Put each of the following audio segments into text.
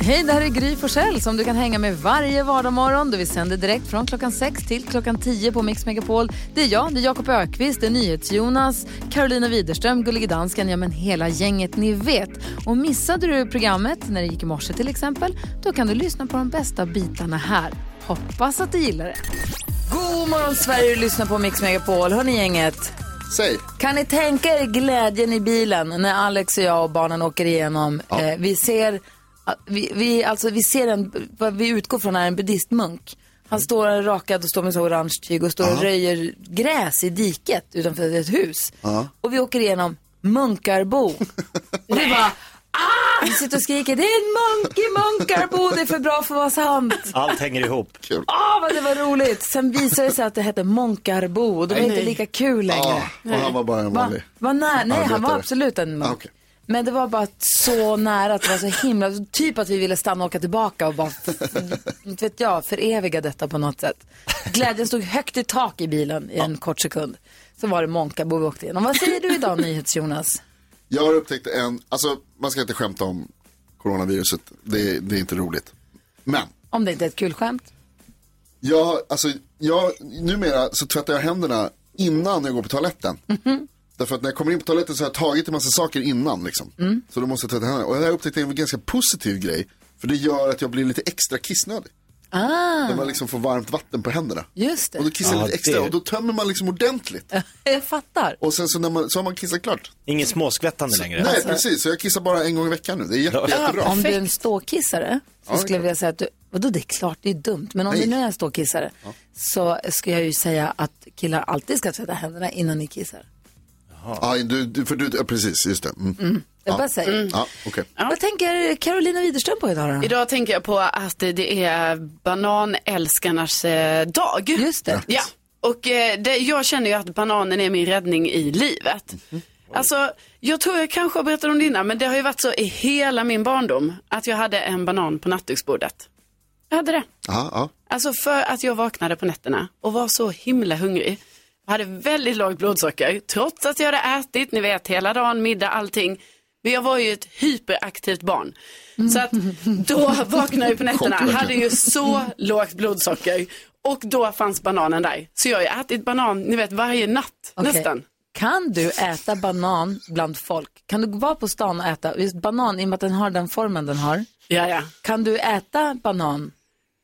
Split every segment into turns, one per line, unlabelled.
Hej, det här är Gry Forssell som du kan hänga med varje vardagsmorgon. Vi sänder direkt från klockan 6 till klockan 10 på Mix Megapol. Det är jag, det är Jakob Ökvist, det är NyhetsJonas, Carolina Widerström, Gullige Dansken, ja men hela gänget ni vet. Och missade du programmet när det gick i morse till exempel, då kan du lyssna på de bästa bitarna här. Hoppas att du gillar det. God morgon Sverige, du lyssnar på Mix Megapol. Hörni gänget.
Säg.
Kan ni tänka er glädjen i bilen när Alex och jag och barnen åker igenom? Eh, vi ser, ah, vi, vi, alltså, vi ser en, vad vi utgår från är en buddhistmunk. Han står rakad och står med så orange tyg och står och röjer gräs i diket utanför ett hus.
Ja.
Och vi åker igenom Munkarbo. Och vi bara, ah! Vi sitter och skriker, det är en munk i Munkarbo, det är för bra för att vara sant.
Allt hänger ihop.
Kul.
Ah, vad det var roligt. Sen visade det sig att det hette Månkarbo och det var inte lika kul längre.
Ja, och han var bara en
Va-
vanlig.
va- nej, nej han
arbetare.
var absolut en munk.
Ah, okej.
Men det var bara så nära att det var så himla, typ att vi ville stanna och åka tillbaka och bara, inte vet jag, föreviga detta på något sätt. Glädjen stod högt i tak i bilen i en kort sekund. Så var det Månkarbo vi åkte igenom. Vad säger du idag, NyhetsJonas?
Jag har upptäckt en, alltså man ska inte skämta om coronaviruset. Det, det är inte roligt. Men,
Om det inte är ett kul skämt.
jag, alltså, jag, numera så tvättar jag händerna innan jag går på toaletten.
Mhm.
Därför att när jag kommer in på toaletten så har jag tagit en massa saker innan liksom.
Mm.
Så då måste jag tvätta händerna. Och det här upptäckte jag är en ganska positiv grej. För det gör att jag blir lite extra kissnödig.
Ah,
När man liksom får varmt vatten på händerna.
just
Och då
det.
kissar jag
Ja,
lite extra
det-
och då tömmer man liksom ordentligt.
Jag fattar.
Och sen så, när man, så har man kissat klart.
Inget småskvättande längre. Alltså,
Nej, precis. Så jag kissar bara en gång i veckan nu. Det är jätte,
Ja.
jättebra.
Om du är en ståkissare så
Ja, det är
skulle jag vilja säga att du, vadå det är klart, det är dumt, men om
Nej.
du nu är en ståkissare så ska jag ju säga att killar alltid ska tvätta händerna innan ni kissar.
Ja, du, du, för du, ja, precis, just det. Mm.
Jag bara säger.
Ja, okej.
Vad tänker Carolina Widerström på idag då?
Idag tänker jag på att det är bananälskarnas eh, dag.
Just det.
Ja, och eh, det, jag känner ju att bananen är min räddning i livet. Alltså, jag tror jag kanske har berättat om det innan, men det har ju varit så i hela min barndom att jag hade en banan på nattduksbordet. Jag hade det.
Ja, ja.
Alltså för att jag vaknade på nätterna och var så himla hungrig. Jag hade väldigt lågt blodsocker, trots att jag hade ätit, ni vet, hela dagen, middag, allting. Men jag var ju ett hyperaktivt barn. Så att då vaknade jag på nätterna,
Chock, verkligen.
hade ju så lågt blodsocker. Och då fanns bananen där. Så jag har ju ätit banan, ni vet, varje natt
Okej.
nästan.
Kan du äta banan bland folk? Kan du vara på stan och äta, just banan i och med att den har den formen den har,
Ja, ja.
kan du äta banan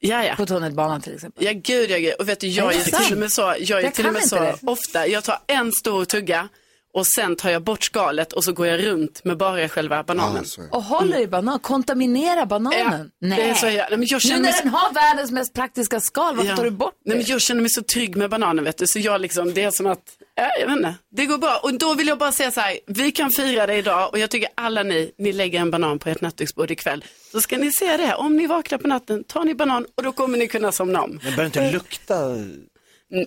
Ja, ja.
på tunnelbanan till exempel?
Ja, gud ja, gud. Och vet du,
Är
jag
det
är
sant?
till och med så, jag är
Jag
till och
kan
med
inte
så
det.
ofta, jag tar en stor tugga och sen tar jag bort skalet och så går jag runt med bara själva bananen.
Ja, så är det.
Och håller i banan, kontaminera bananen?
Ja, det är så jag- Nej, men jag känner
nu när
mig så-
den har världens mest praktiska skal, varför
Ja.
tar du bort det?
Nej, men jag känner mig så trygg med bananen, vet du. Så jag liksom, det är som att, ja, jag vet inte, det går bra. Och då vill jag bara säga så här, vi kan fira det idag och jag tycker alla ni, ni lägger en banan på ert nattduksbord ikväll. Så ska ni se det, om ni vaknar på natten, tar ni banan och då kommer ni kunna somna om.
Men börjar inte lukta...
Mm, men-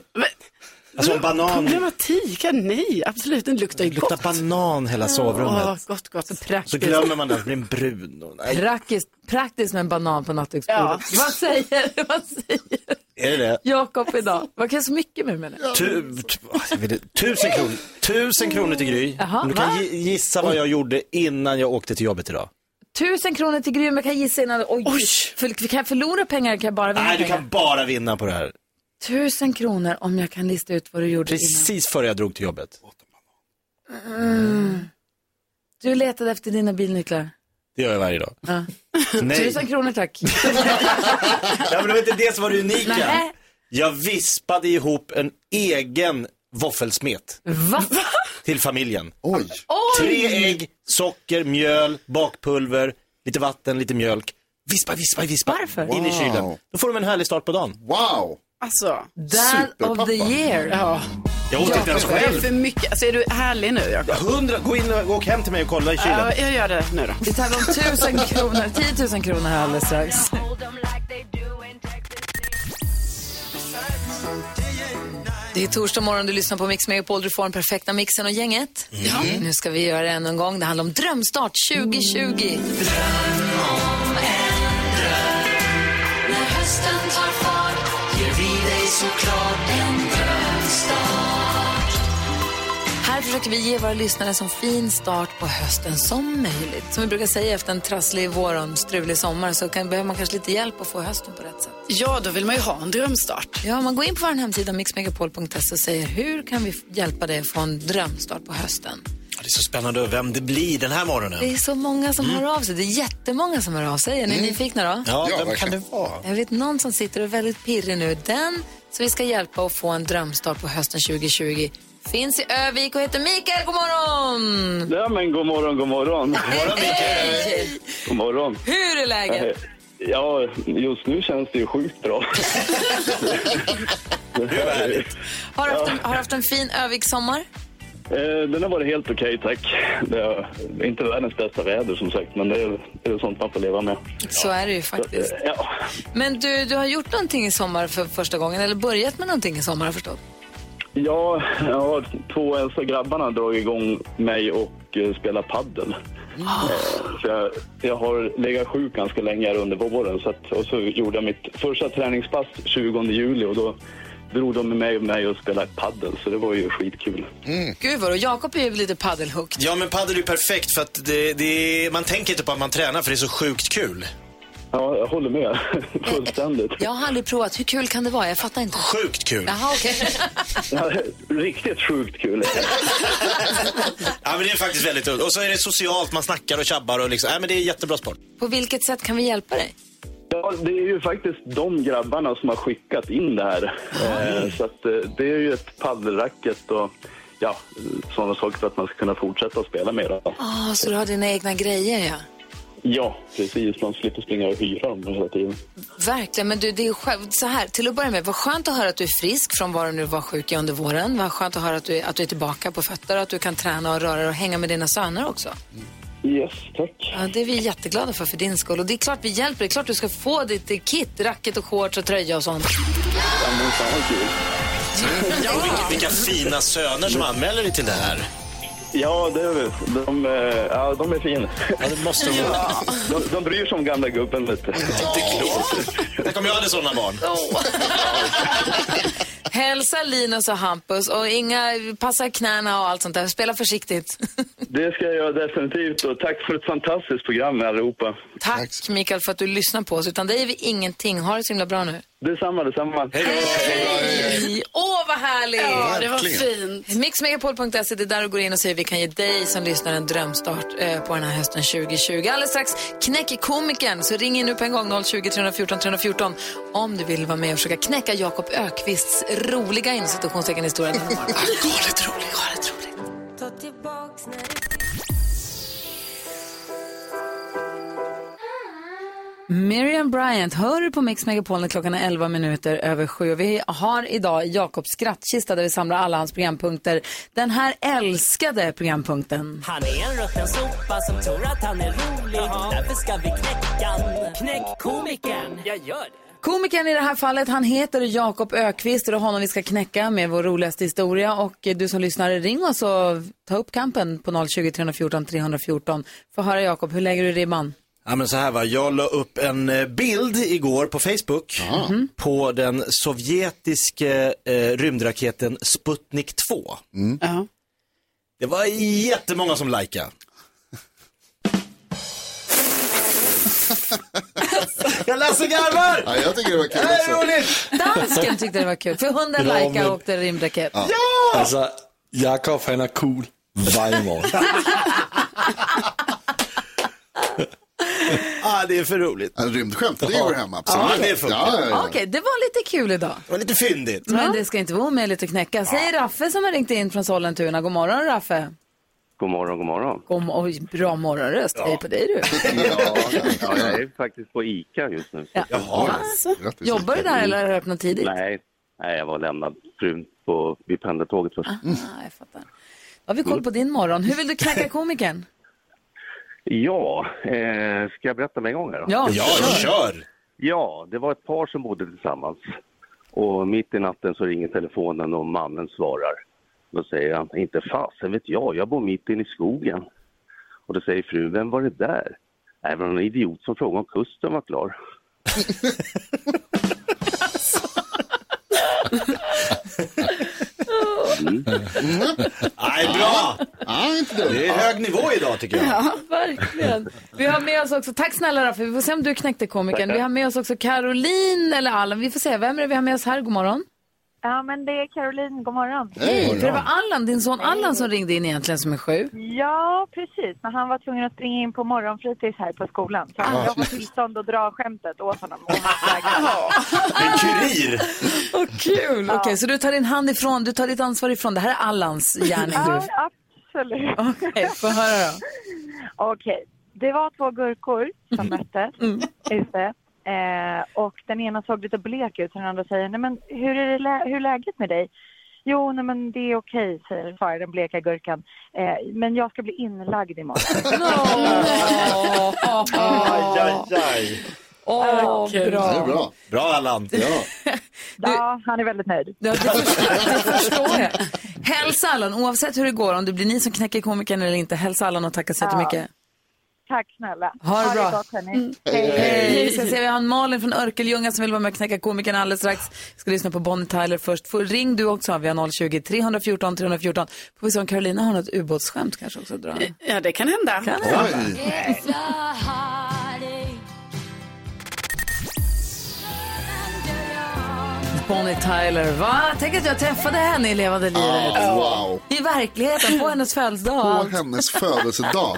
Alltså en banan,
Problematiken, nej, absolut, den luktar ju
lukta
gott.
banan hela
Åh,
sovrummet.
gott, gott.
Så glömmer man det, så blir den brun. Och- Nej,
Praktiskt, praktiskt med en banan på nattduksbordet. Vad säger, vad säger
är det det?
Jakob idag? Vad kan jag så mycket med menar jag?
Tu, tu, åh, jag vill- tusen kronor, tusen kronor till Gry.
Jaha,
Om du
va?
kan gi- gissa vad jag gjorde innan jag åkte till jobbet idag.
Tusen kronor till Grym, jag kan gissa innan. Oj,
Oj.
För, kan jag förlora pengar kan jag bara vinna
Nej, du
pengar.
kan bara vinna på det här.
Tusen kronor om jag kan lista ut vad du gjorde innan.
Precis före jag drog till jobbet.
Mm. Du letade efter dina bilnycklar.
Det gör jag varje dag.
Ja.
Nej,
Tusen kronor tack.
ja, men det var inte det som var det unika.
Nej.
Jag vispade ihop en egen våffelsmet
Va?
till familjen.
Oj,
Tre ägg, socker, mjöl, bakpulver, lite vatten, lite mjölk. Vispa, vispa, vispa.
Varför?
In i kylen.
Wow.
Då får de en härlig start på dagen.
wow.
Alltså,
Dad of
Superpappa.
the year.
ja.
Jag åt inte ens
Det är
själv.
för mycket. Alltså, är du härlig nu, Jakob?
Hundra, gå in och gå och hem till mig och kolla i kylen.
Ja, jag gör det nu då.
Vi tävlar om tusen kronor, 10 000 kronor här alldeles strax. Det är torsdag morgon, du lyssnar på Mix Megapol, du får den perfekta mixen och gänget. Ja. Nu ska vi göra det ännu en gång. Det handlar om drömstart 2020. Här försöker vi ge våra lyssnare så fin start på hösten som möjligt. Som vi brukar säga efter en trasslig vår och en strulig sommar så kan, behöver man kanske lite hjälp att få hösten på rätt sätt.
Ja, då vill man ju ha en drömstart.
Ja, man går in på vår hemsida mixmegapol.se och säger hur kan vi f- hjälpa dig att få en drömstart på hösten?
Ja, Det är så spännande vem det blir den här morgonen.
Det är så många som hör av sig. Det är jättemånga som hör av sig. Är ni nyfikna då?
Mm. Ja, vem
Ja,
kan det
verkligen.
vara?
Jag vet någon som sitter och är väldigt pirrig nu. Den som vi ska hjälpa att få en drömstart på hösten 2020 finns i Övik och heter Mikael. God morgon!
Ja, men god morgon, god morgon.
Hej!
God morgon. Eh,
Hur är läget?
Ja, just nu känns det ju sjukt bra.
Har du haft en, har du haft en fin Övik-sommar?
Eh, Den har varit helt okej, tack. Det är inte världens bästa väder som sagt, men det är, det är sånt man får leva med.
Så är det ju
Eh,
faktiskt.
Ja,
Men du, du har gjort någonting i sommar för första gången, eller börjat med någonting i sommar har jag förstått.
ja jag har två äldsta grabbarna dragit igång mig och eh, spelat paddel. Eh, Så jag, jag har legat sjuk ganska länge här under våren så att, och så gjorde jag mitt första träningspass 20 juli och då drog de med mig, mig och spelade paddel så det var ju skitkul.
Mm.
Gud vad, och Jakob är ju lite paddelhooked.
Ja, men padel är ju perfekt för att det, det, man tänker inte på att man tränar för det är så sjukt kul.
Ja, jag håller med. Fullständigt.
Jag har aldrig provat. Hur kul kan det vara? Jag fattar inte.
Sjukt kul. Ja.
Jaha, okej.
Ja, Riktigt sjukt kul.
men det är faktiskt väldigt roligt. Och så är det socialt, man snackar och tjabbar och liksom. Ja, men det är jättebra sport.
På vilket sätt kan vi hjälpa dig?
Ja, det är ju faktiskt de grabbarna som har skickat in det här. Eh, Så att eh, det är ju ett paddelracket och ja, sådana saker för att man ska kunna fortsätta att spela med dem.
Ah, så du har dina egna grejer, ja.
Ja, precis. Man slipper springa och hyra dem hela tiden.
Verkligen, men du, det är ju själv, så här, till att börja med, vad skönt att höra att du är frisk från vad du nu var sjuk i under våren. Vad skönt att höra att du, är- att du är tillbaka på fötter och att du kan träna och röra dig och hänga med dina söner också.
Yes, tack.
Ja, det är vi jätteglada för, för din skull. Och det är klart vi hjälper, det är klart du ska få ditt eh, kit, racket och shorts och tröja och sånt.
Ja, men fan vad kul.
Och Mm. vilka, vilka fina söner som anmäler dig till det här.
Ja, det är, väl- de, eh, ja, de är fina.
Ja, det måste de vara.
De, de bryr sig om gamla gubben lite.
Inte klokt. Tänk om jag hade sådana barn.
Hälsa Linus och Hampus och inga, passa knäna och allt sånt där. Spela försiktigt.
Det ska jag göra definitivt och tack för ett fantastiskt program allihopa.
Tack, Mikael för att du lyssnar på oss. Utan dig är vi ingenting. Ha det så himla bra nu.
Detsamma, detsamma.
Hej! Åh, vad härligt!
Ja, det var
Verkligen.
fint.
Mixmegapol.se, det är där du går in och säger vi kan ge dig som lyssnar en drömstart eh, på den här hösten 2020. Alldeles strax knäcker komikern, så ring in nu på en gång 020 314 314 om du vill vara med och försöka knäcka Jakob Ökvists roliga inom citationstecken historia. den här morgonen. Galet roligt, galet roligt. Miriam Bryant hör du på Mix Megapol när klockan är 11 minuter över sju. Och Vi har idag Jakobs skrattkista där vi samlar alla hans programpunkter. Den här älskade programpunkten.
Han är en rutten sopa som tror att han är rolig. Därför ska vi knäcka han. Knäck komikern. Jag gör det.
Komikern i det här fallet, han heter Jakob Ökvist och det är honom vi ska knäcka med vår roligaste historia. Och eh, du som lyssnar, ring oss och ta upp kampen på 020 314 314. Få höra Jakob, hur lägger du ribban?
Ja men så här va, jag la upp en eh, bild igår på Facebook Mhm. på den sovjetiske eh, rymdraketen Sputnik 2.
Ja.
Det var jättemånga som likade. jag läser garvar!
Ja, jag tycker det var kul
Det här är
också.
roligt!
Dansken tyckte det var kul, för hunden
Ja,
likade
men-
och åkte rymdraket.
Altså, Jakob han er cool hver morgen.
Ja, det är för roligt.
En rymdskämt, det går hemma. Absolut.
Ja, det funkar.
Ja, ja, ja.
Okej, det var lite kul idag.
Det var lite fyndigt.
Men det ska inte vara omöjligt att knäcka. Säger Raffe som har ringt in från Sollentuna. God morgon Raffe.
God morgon, god morgon.
God, mo- oj, bra morgonröst. Hej på dig du.
Ja, ja,
Ja, jag
ja.
är faktiskt på ICA just nu.
Ja. Alltså,
Grattis.
jobbar du där eller har du öppnat tidigt?
Nej, nej, jag var lämnad frun på, vid pendeltåget först.
Ah, jag fattar. Då har vi koll på din morgon. Hur vill du knäcka komikern?
Ja, eh, ska jag berätta med en gång? Här då?
Ja,
Ja, kör!
ja, det var ett par som bodde tillsammans. Och mitt i natten så ringer telefonen och mannen svarar. Då säger han, inte fasen vet jag, jag bor mitt inne i skogen. Och då säger frun, vem var det där? Nej, det var någon idiot som frågade om kusten var klar. Mm.
Nej, bra!
Ja, inte
Det
dumt.
är hög nivå idag tycker jag.
Ja, verkligen. Vi har med oss också, tack snälla Raffe, vi får se om du knäckte komikern. Vi har med oss också Caroline eller Allan, vi får se, vem är det vi har med oss här? God morgon.
Ja, men det är Caroline. God morgon.
Hej.
För det var Allan, din son Allan som ringde in egentligen som är sju.
Ja, precis. Men han var tvungen att springa in på morgonfritids här på skolan. Så jag får tillstånd att dra skämtet åt honom. Och han vägrade.
En kurir.
Vad kul! Okej, så du tar din hand ifrån, du tar ditt ansvar ifrån. Det här är Allans gärning du.
ja, absolut.
Okej, få höra då.
Okej. Det var två gurkor som möttes ute. Eh, och den ena såg lite blek ut och den andra säger, nej men hur är, det lä- hur är läget med dig? Jo, nej men det är okej, säger svarar den bleka gurkan. Eh, men jag ska bli inlagd imorgon.
Aj, aj, aj.
Åh,
Det är
bra.
bra.
Bra Allan.
Ja.
ja, han är väldigt nöjd.
Ja, det, förstår, det förstår jag. Hälsa Allan, oavsett hur det går, om det blir ni som knäcker komikern eller inte, hälsa Allan och tacka så jättemycket.
Tack snälla.
Ha det bra. Mm.
gott, hörni.
Hej! Vi ska se, vi har en Malin från Örkelljunga som vill vara med och knäcka komikern alldeles strax. Vi ska lyssna på Bonnie Tyler först. Får, ring du också, vi har 020-314 314. Får vi se om Carolina har något ubåtsskämt kanske också att dra.
Ja, det kan hända.
Kan det?
Oj.
Bonnie Tyler, va? Tänk att jag träffade henne i levande livet.
Ah, wow.
I verkligheten, på hennes födelsedag.
På
Allt.
hennes födelsedag.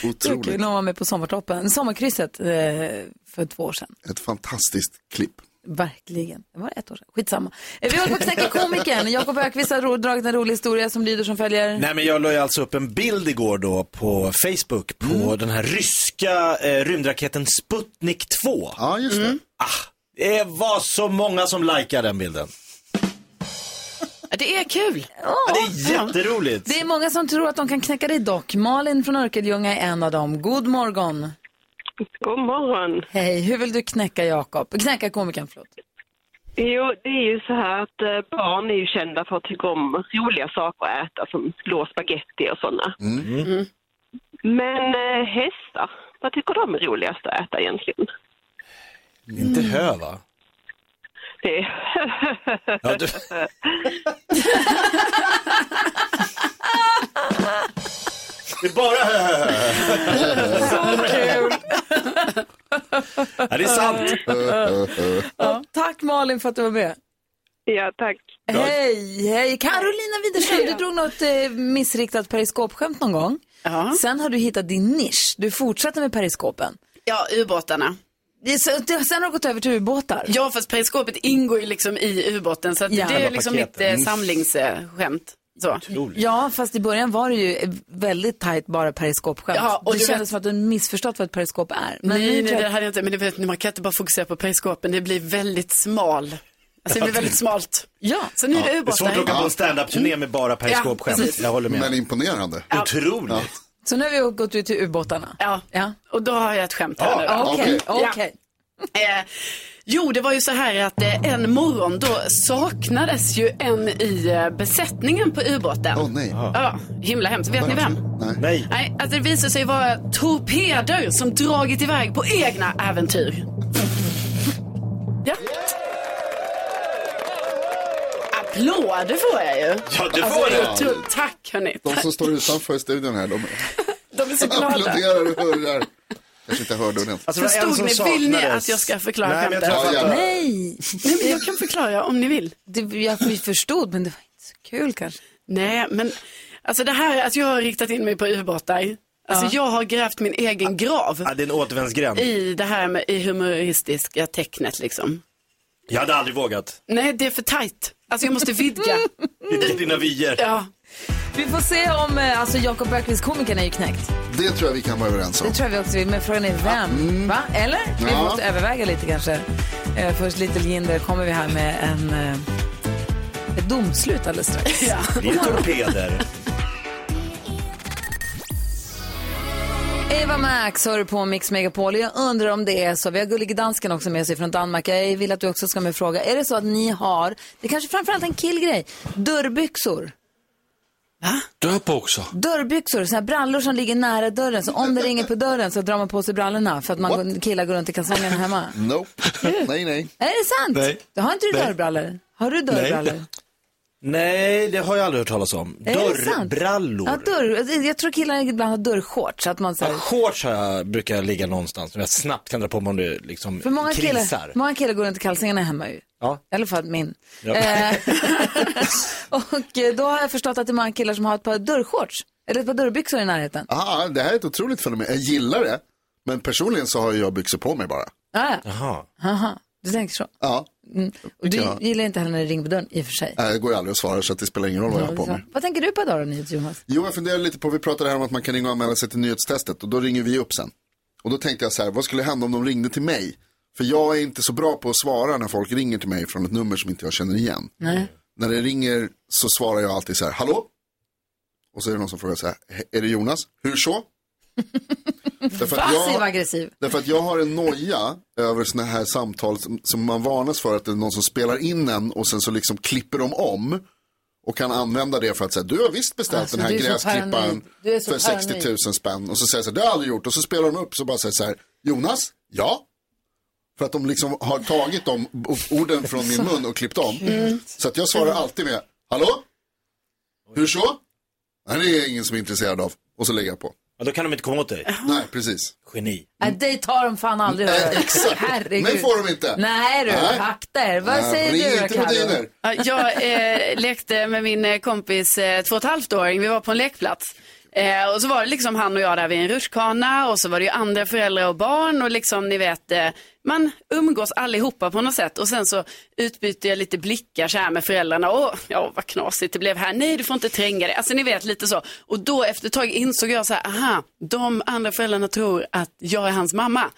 Kul,
Otroligt.
hon var med på Sommartoppen, Sommarkrysset, eh, för två år sedan.
Ett fantastiskt klipp.
Verkligen. Det var ett år sedan. Skitsamma. Eh, Vi håller på att knäcka komikern. Jakob Ökvist har ro- dragit en rolig historia som lyder som följer.
Nej men jag la ju alltså upp en bild igår då på Facebook på
Mm.
den här ryska eh, rymdraketen Sputnik 2.
Ja, just det.
Det var så många som likade den bilden.
Ja, Det är kul.
Ja, det är jätteroligt.
Det är många som tror att de kan knäcka dig dock. Malin från Örkelljunga är en av dem. God morgon.
God morgon.
Hej, hur vill du knäcka Jakob? Knäcka komikern, förlåt.
Jo, det är ju så här att eh, barn är ju kända för att tycka om roliga saker att äta som blå spaghetti och sådana.
Mm.
Mm.
Men eh, hästar, vad tycker de är roligast att äta egentligen?
Inte hö va?
Det är
Ja, du... Det är bara hö, hö, hö. Ja, det är sant.
Tack Malin för att du var med.
ja, tack.
Hej, hej. Carolina Widerström, du drog något eh, missriktat periskopskämt någon gång.
Ja,
Sen har du hittat din nisch. Du fortsätter med periskopen.
ja ubåtarna.
Det är så- det- Sen har du gått över till ubåtar.
Ja, fast periskopet ingår ju liksom i ubåten så att
Ja.
det är
Själva
ju liksom
paketen.
mitt eh, samlingsskämt. Så.
Ja, fast i början var det ju väldigt tajt bara periskopskämt.
Ja, och
det
du
kändes
vet-
som att du missförstått vad ett periskop är. Men nu
Nej,
tror
nej,
jag-
det hade jag inte. Men du vet, man kan inte bara fokusera på periskopen. Det blir väldigt smal. Alltså det blir väldigt smalt.
Ja.
Så nu är det
Det är svårt att åka
ubåtar.
på en standup-turné med bara
Ja,
periskopskämt.
precis.
Jag håller
Men
med.
imponerande.
Otroligt.
Så nu har vi gått ut till ubåtarna.
Ja.
Ja.
och då har jag ett skämt här nu.
Ja.
Okej,
Okej.
okej.
Eh, jo, det var ju så här att eh, en morgon då saknades ju en i eh, besättningen på ubåten.
Åh nej.
Ja, himla hemskt. Vet ni vem?
Nej.
Nej.
Nej, alltså det visade sig vara torpeder som dragit iväg på egna äventyr. Ja. Applåder får jag ju.
Ja, det
Alltså,
var
det är
det.
otroligt. Tack hörni.
De som står utanför studion här, de
De är så glada.
applåderar och hurrar. Kanske inte hörde ordentligt.
Alltså, det var en
Förstod
som
ni? Vill ni
saknades.
att jag ska förklara
Nej, men jag
skämtet?
tror jag
Ja,
fattar.
gärna.
Nej,
Nej, men jag kan förklara om ni vill.
det, jag, vi förstod men det var inte så kul kanske.
Nej, men alltså det här att jag har riktat in mig på ubåtar. Alltså jag har grävt min egen grav
Ja, det är en återvändsgränd.
i det här med i humoristiska tecknet liksom.
Jag hade aldrig vågat.
Nej, det är för tajt. Alltså jag måste vidga.
Mm.
Vilka dina vyer.
Ja.
Vi får se om, eh, alltså Jakob Bergqvist, komikern är ju knäckt.
Det tror jag vi kan vara överens om.
Det tror jag vi också vill, men frågan är
Mm.
vem? Va? Eller? Vi
Ja.
måste överväga lite kanske. Eh, först Little Jinder kommer vi här med en, eh, ett domslut alldeles strax.
Det är torpeder.
Eva Max hör du på Mix Megapol. Jag undrar om det är så. Vi har Gullige Dansken också med sig från Danmark. Jag vill att du också ska med fråga. Är det så att ni har, det kanske framförallt är en killgrej, dörrbyxor?
Dörrboxer.
Dörrbyxor, såna här brallor som ligger nära dörren. Så om det ringer på dörren så drar man på sig brallorna för att man går, killar går runt i kalsongerna hemma.
Nope. Nej, nej.
Är det sant?
Nej.
Har inte du
Nej.
dörrbrallor? Har du
Nej.
dörrbrallor?
Nej, det har jag aldrig hört talas om.
Är det sant?
Dörrbrallor.
Ja, dörr, jag tror killar ibland har dörrshorts. så Att man, så här,
Ja, shorts har jag, brukar jag ligga någonstans som jag snabbt kan dra på mig om det liksom
för många killar,
krisar.
många killar går runt i kalsingarna hemma ju.
Ja.
I alla fall min.
Ja.
Eh, och eh, då har jag förstått att det är många killar som har ett par dörrshorts. Eller ett par dörrbyxor i närheten.
Aha, det här är ett otroligt fenomen. Jag gillar det, men personligen så har jag byxor på mig bara.
Ah, ja.
Jaha.
Aha, du tänker så. Mm.
Ja,
Och du
Ja.
gillar inte heller när det ringer på dörren i och för sig.
äh, det går ju aldrig att svara så att det spelar ingen roll vad jag har på mig.
Vad tänker du på idag då, Nyhets Jonas?
Jo, jag funderar lite på, vi pratade här om att man kan ringa och anmäla sig till nyhetstestet och då ringer vi upp sen. Och då tänkte jag så här, vad skulle hända om de ringde till mig? För jag är inte så bra på att svara när folk ringer till mig från ett nummer som inte jag känner igen.
Nej.
När det ringer så svarar jag alltid så här, hallå? Och så är det någon som frågar så här, är det Jonas? Hur så? Därför att
Passiv
jag-
aggressiv.
Därför att jag har en noja över såna här samtal som, som man varnas för att det är någon som spelar in en och sen så liksom klipper de om och kan använda det för att säga du har visst beställt
Alltså,
den här
du är så
gräsklipparen
paranoid. Du är så
för 60 000 spänn och så säger jag så här, det har jag aldrig gjort och så spelar de upp så bara säger så här Jonas, ja. För att de liksom har tagit de o- orden från min mun och klippt om. Så att jag svarar alltid med, hallå? Hur så? Nej, det är ingen som är intresserad av. Och så lägger jag på.
Ja, då kan de inte komma åt dig.
Nej, precis.
Geni.
Nej, det tar de fan aldrig.
Nej,
hörru.
Mm. Eh, exakt.
Herregud.
Mig får de inte.
Nej du,
Nej.
akta er. Vad
Nej,
säger
ring
du då,
inte
Carro?
Rodiner.
Ja, Jag eh, lekte med min eh, kompis eh, två och ett halvt åring. Vi var på en lekplats. Eh, och så var det liksom han och jag där vid en rutschkana och så var det ju andra föräldrar och barn och liksom ni vet, eh, man umgås allihopa på något sätt och sen så utbyter jag lite blickar så här med föräldrarna. Åh, ja vad knasigt det blev här. Nej, du får inte tränga dig. Alltså ni vet lite så. Och då efter ett tag insåg jag så här, aha, de andra föräldrarna tror att jag är hans mamma.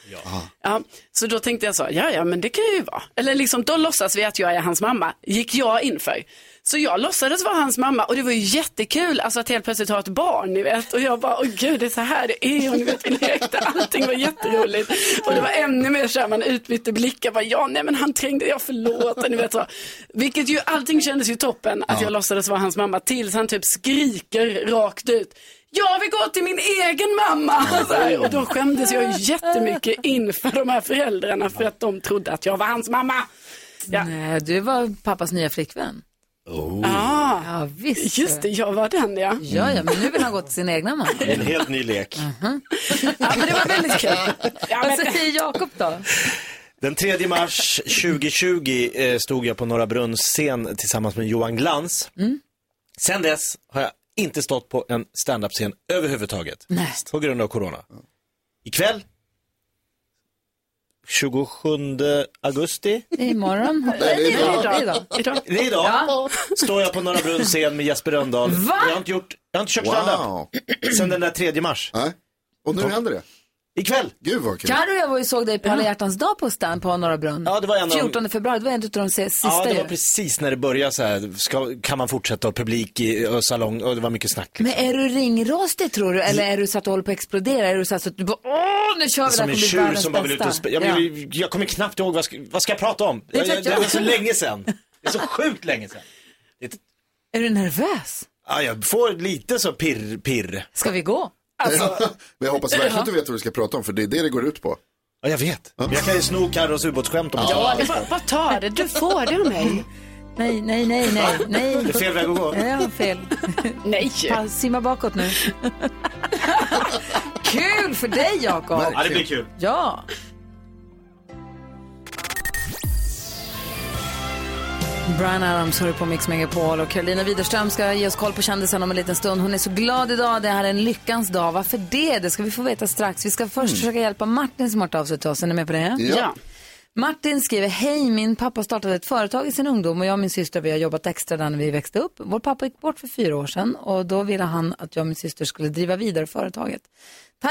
Ja. så då tänkte jag så, ja ja men det kan jag ju vara. Eller liksom, då låtsas vi att jag är hans mamma, gick jag inför. Så jag låtsades vara hans mamma och det var ju jättekul alltså att helt plötsligt ha ett barn, ni vet. Och jag bara, åh gud, det är så här det är. Och ni vet, vi lekte, allting var jätteroligt. Och det var ännu mer så här, man utbytte blickar, bara, ja, nej men han trängde, jag förlåt, och ni vet så. Vilket ju, allting kändes ju toppen att jag låtsades vara hans mamma tills han typ skriker rakt ut. Jag vill gå till min egen mamma! Så här, och då skämdes jag jättemycket inför de här föräldrarna för att de trodde att jag var hans mamma. Ja,
Nej, du var pappas nya flickvän. Oh.
ah,
Ja, visst.
just det, jag var den ja.
Ja, ja, men nu vill han gå till sin egna mamma.
En helt ny lek.
Mm.
Ja, men det var väldigt kul. Ja,
Vad
men,
säger Jakob då?
Den 3 mars 2020 eh, stod jag på Norra Brunns scen tillsammans med Johan Glans.
Mm.
Sen dess har jag inte stått på en standup-scen överhuvudtaget.
Nej.
På grund av corona. Ikväll, 27 augusti,
Det är imorgon. Nej,
det är idag.
Det är idag.
idag.
det är idag,
Ja.
står jag på Norra Brunns scen med Jesper Rönndahl.
Va?
Jag har inte, gjort, jag har inte kört standup
Wow.
sen den där 3 mars.
Nej. Och nu händer det.
Ikväll.
Gud vad kul.
Carro och jag var ju såg dig på Alla hjärtans dag på Stan på Norra Brunn.
Ja, det var en av de-
14 februari, det var en av de se- sista
Ja, det
ju.
var precis när det började så här. Ska, kan man fortsätta och publik i och salong och det var mycket snack.
Men är du ringrostig tror du? Eller är du så att du håller på att explodera? Är du så, att- så att du bara, åh, nu kör vi det här
Som
kommer
en
bli
tjur
världens
som bara vill ut och
bästa."
spela. Jag,
Ja.
vill- jag kommer knappt ihåg vad ska, vad ska jag prata om.
Det
Det,
vet
jag, jag,
jag.
det var så länge sedan. Det är så sjukt länge sedan.
Är du nervös?
Ja, jag får lite så pirr, pirr.
Ska vi gå?
Alltså-
Men jag hoppas verkligen att du vet vad du ska prata om, för det är det det går ut på.
Ja, jag vet. Men jag kan ju sno Carros ubåtsskämt om jag
Ja, det var, vad tar det? Du får det av mig.
Nej, nej, nej, nej, nej.
Det är fel väg att gå.
Nej, Jag har fel.
Nej.
Pa- Simma bakåt nu. Kul för dig, Jakob.
Ja, det blir kul.
Ja. Brian Adams hör på Mix Megapol och Carolina Widerström ska ge oss koll på kändisen om en liten stund. Hon är så glad idag. Det här är en lyckans dag. Varför det? Det ska vi få veta strax. Vi ska
Mm.
först försöka hjälpa Martin som har hört av sig till oss. Är ni med på det?
Ja.
Martin skriver, hej min pappa startade ett företag i sin ungdom och jag och min syster vi har jobbat extra där när vi växte upp. Vår pappa gick bort för fyra år sedan och då ville han att jag och min syster skulle driva vidare företaget.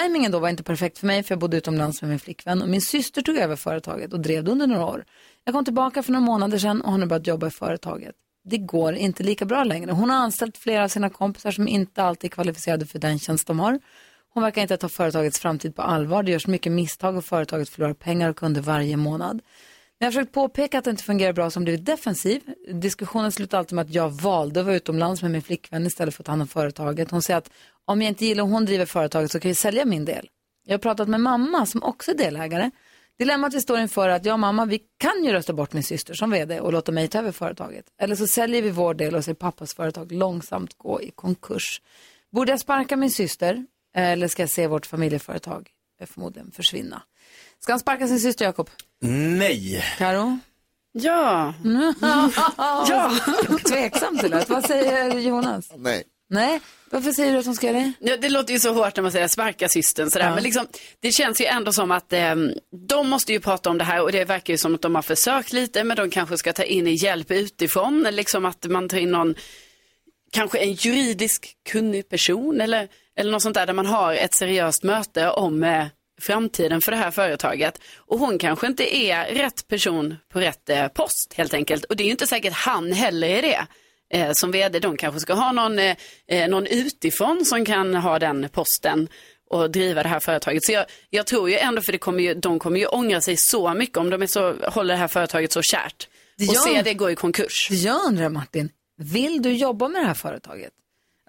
Timingen då var inte perfekt för mig för jag bodde utomlands med min flickvän och min syster tog över företaget och drev det under några år. Jag kom tillbaka för några månader sedan och har nu börjat jobba i företaget. Det går inte lika bra längre. Hon har anställt flera av sina kompisar som inte alltid är kvalificerade för den tjänst de har. Hon verkar inte ta företagets framtid på allvar. Det görs mycket misstag och företaget förlorar pengar och kunder varje månad. När jag försökt påpeka att det inte fungerar bra som blivit defensiv. Diskussionen slutar alltid med att jag valde att vara utomlands med min flickvän istället för att ta hand om företaget. Hon säger att om jag inte gillar hur hon driver företaget så kan jag sälja min del. Jag har pratat med mamma som också är delägare. Dilemmat vi står inför är att jag och mamma, vi kan ju rösta bort min syster som vd och låta mig ta över företaget. Eller så säljer vi vår del och ser pappas företag långsamt gå i konkurs. Borde jag sparka min syster eller ska jag se vårt familjeföretag eh, förmodligen försvinna? Ska han sparka sin syster Jakob?
Nej.
Karo?
Ja, ja.
Tveksam till det. Vad säger Jonas?
Nej.
Nej, varför säger du att hon ska göra det?
Ja, det låter ju så hårt när man säger sparka systern sådär. Men liksom, det känns ju ändå som att eh, de måste ju prata om det här och det verkar ju som att de har försökt lite men de kanske ska ta in hjälp utifrån. Liksom att man tar in någon, kanske en juridisk kunnig person eller, eller något sånt där där man har ett seriöst möte om eh, framtiden för det här företaget. Och hon kanske inte är rätt person på rätt eh, post helt enkelt. Och det är ju inte säkert han heller är det eh, som vd. De kanske ska ha någon, eh, eh, någon utifrån som kan ha den posten och driva det här företaget. Så jag, jag tror ju ändå, för det kommer ju, de kommer ju ångra sig så mycket om de är så, håller det här företaget så kärt
Det
och
gör
ser
de.
det gå i konkurs.
Jag undrar Martin, vill du jobba med det här företaget?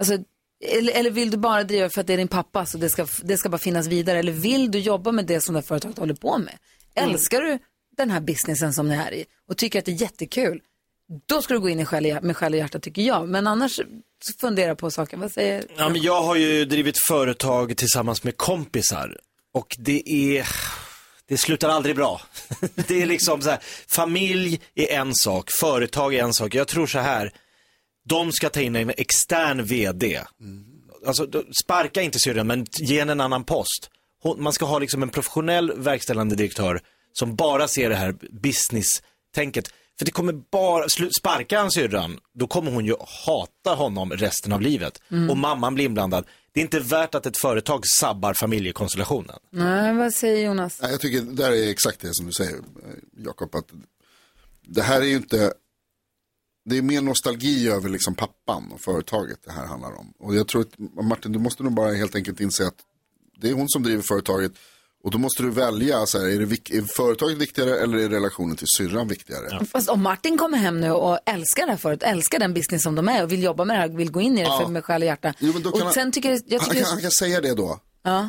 Alltså, eller, eller vill du bara driva för att det är din pappa så det ska, det ska bara finnas vidare? Eller vill du jobba med det som det här företaget håller på med?
Mm.
Älskar du den här businessen som ni är i och tycker att det är jättekul? Då ska du gå in i själ, och hjär- med själ och hjärta tycker jag. Men annars fundera på saken. Vad säger
Ja, men jag har ju drivit företag tillsammans med kompisar och det är, det slutar aldrig bra. Det är liksom så här, familj är en sak, företag är en sak. Jag tror så här, de ska ta in en extern vd. Alltså, då- sparka inte syrran, men ge henne en annan post. Hon, man ska ha liksom en professionell verkställande direktör som bara ser det här business-tänket. För det kommer bara, slu- sparkar han syrran, då kommer hon ju hata honom resten av livet. Och mamman blir inblandad. Det är inte värt att ett företag sabbar familjekonstellationen.
Nej, vad säger Jonas?
Nej, jag tycker det där är exakt det som du säger, eh, Jakob. Att det här är ju inte, det är mer nostalgi över liksom pappan och företaget det här handlar om. Och jag tror att Martin, du måste nog bara helt enkelt inse att det är hon som driver företaget. Och då måste du välja, så här, är, det, vik- är företaget viktigare eller är relationen till syrran viktigare?
Fast om Martin kommer hem nu och älskar det här förut, älskar den business som de är och vill jobba med det här, vill gå in i det för med själ och hjärta.
Jo, men då
och
kan han-
sen tycker jag, jag
Han
tycker
kan, han kan säga det då.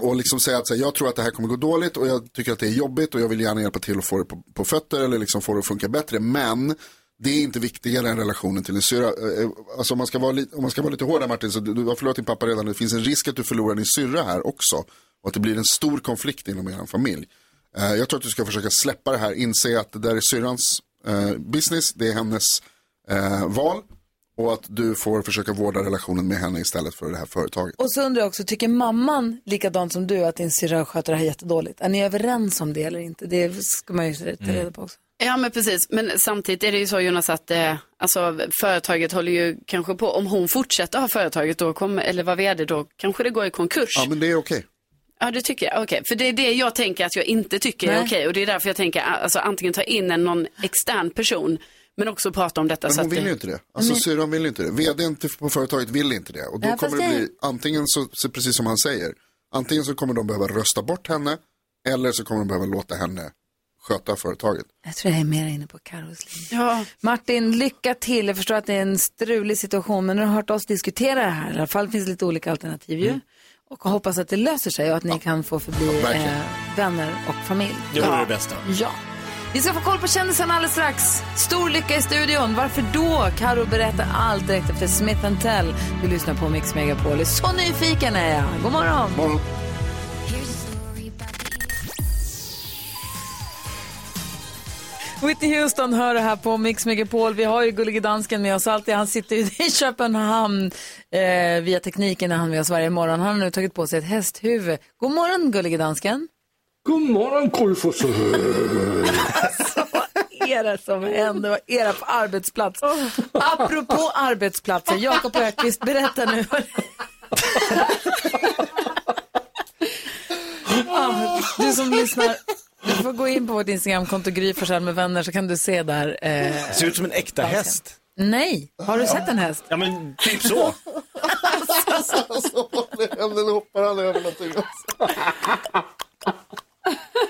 Och liksom säga att så här, jag tror att det här kommer gå dåligt och jag tycker att det är jobbigt och jag vill gärna hjälpa till att få det på, på fötter eller liksom få det att funka bättre. Men det är inte viktigare än relationen till din syrra. Eh, eh, Alltså om man ska vara, li- om man ska vara lite hård här Martin, så du, du har förlorat din pappa redan. Det finns en risk att du förlorar din syrra här också. Och att det blir en stor konflikt inom er familj. Eh, jag tror att du ska försöka släppa det här, inse att det där är syrrans eh, business, det är hennes eh, val. Och att du får försöka vårda relationen med henne istället för det här företaget.
Och så undrar jag också, tycker mamman likadant som du att din syrra sköter det här jättedåligt? Är ni överens om det eller inte? Det ska man ju ta
Mm.
reda på också.
Ja men precis, men samtidigt är det ju så Jonas att eh, alltså, företaget håller ju kanske på, om hon fortsätter ha företaget då kommer, eller vad vd då kanske det går i konkurs.
Ja, men det är okej.
Ja, det tycker jag. Okej, för det är det jag tänker att jag inte tycker är
Nej.
okej. Och det är därför jag tänker alltså, antingen ta in en, någon extern person, men också prata om detta.
Men
så
hon
att
vill
det...
ju inte det. Alltså syrran vill inte det. Vdn till- på företaget vill inte det. Och då
Ja, fast
kommer det
det-
bli, antingen så, så, precis som han säger, antingen så kommer de behöva rösta bort henne, eller så kommer de behöva låta henne sköta företaget.
Jag tror jag är mer inne på Carros linje.
Ja,
Martin, lycka till. Jag förstår att det är en strulig situation, men nu har du hört oss diskutera det här. I alla fall finns det lite olika alternativ
Mm.
ju. Och hoppas att det löser sig och att ni kan få förbli
verkligen.
eh, vänner och familj.
Det vore det bästa.
Ja. Vi ska få koll på kändisarna alldeles strax. Stor lycka i studion. Varför då? Karo berättar allt direkt efter Smith Tell. Vi lyssnar på Mix Megapol. Så nyfiken är jag. God morgon.
Morgon.
Whitney Houston hör det här på Mix Megapol. Vi har ju gullige dansken med oss alltid. Han sitter ju i Köpenhamn eh, via tekniken när han är med oss varje morgon. Han har nu tagit på sig ett hästhuvud. God morgon gullige dansken.
God morgon, Kolfosse.
Vad är det som händer? Vad är det på arbetsplats? Apropå arbetsplatser, Jakob Ökvist, berätta nu. Ja, du som lyssnar, du får gå in på vårt Instagramkonto Gry Forssell med vänner så kan du se där. Eh,
Ser ut som en äkta häst.
nej, har du sett en häst?
Ja, men typ så.
Alltså, eller hoppar han över någonting.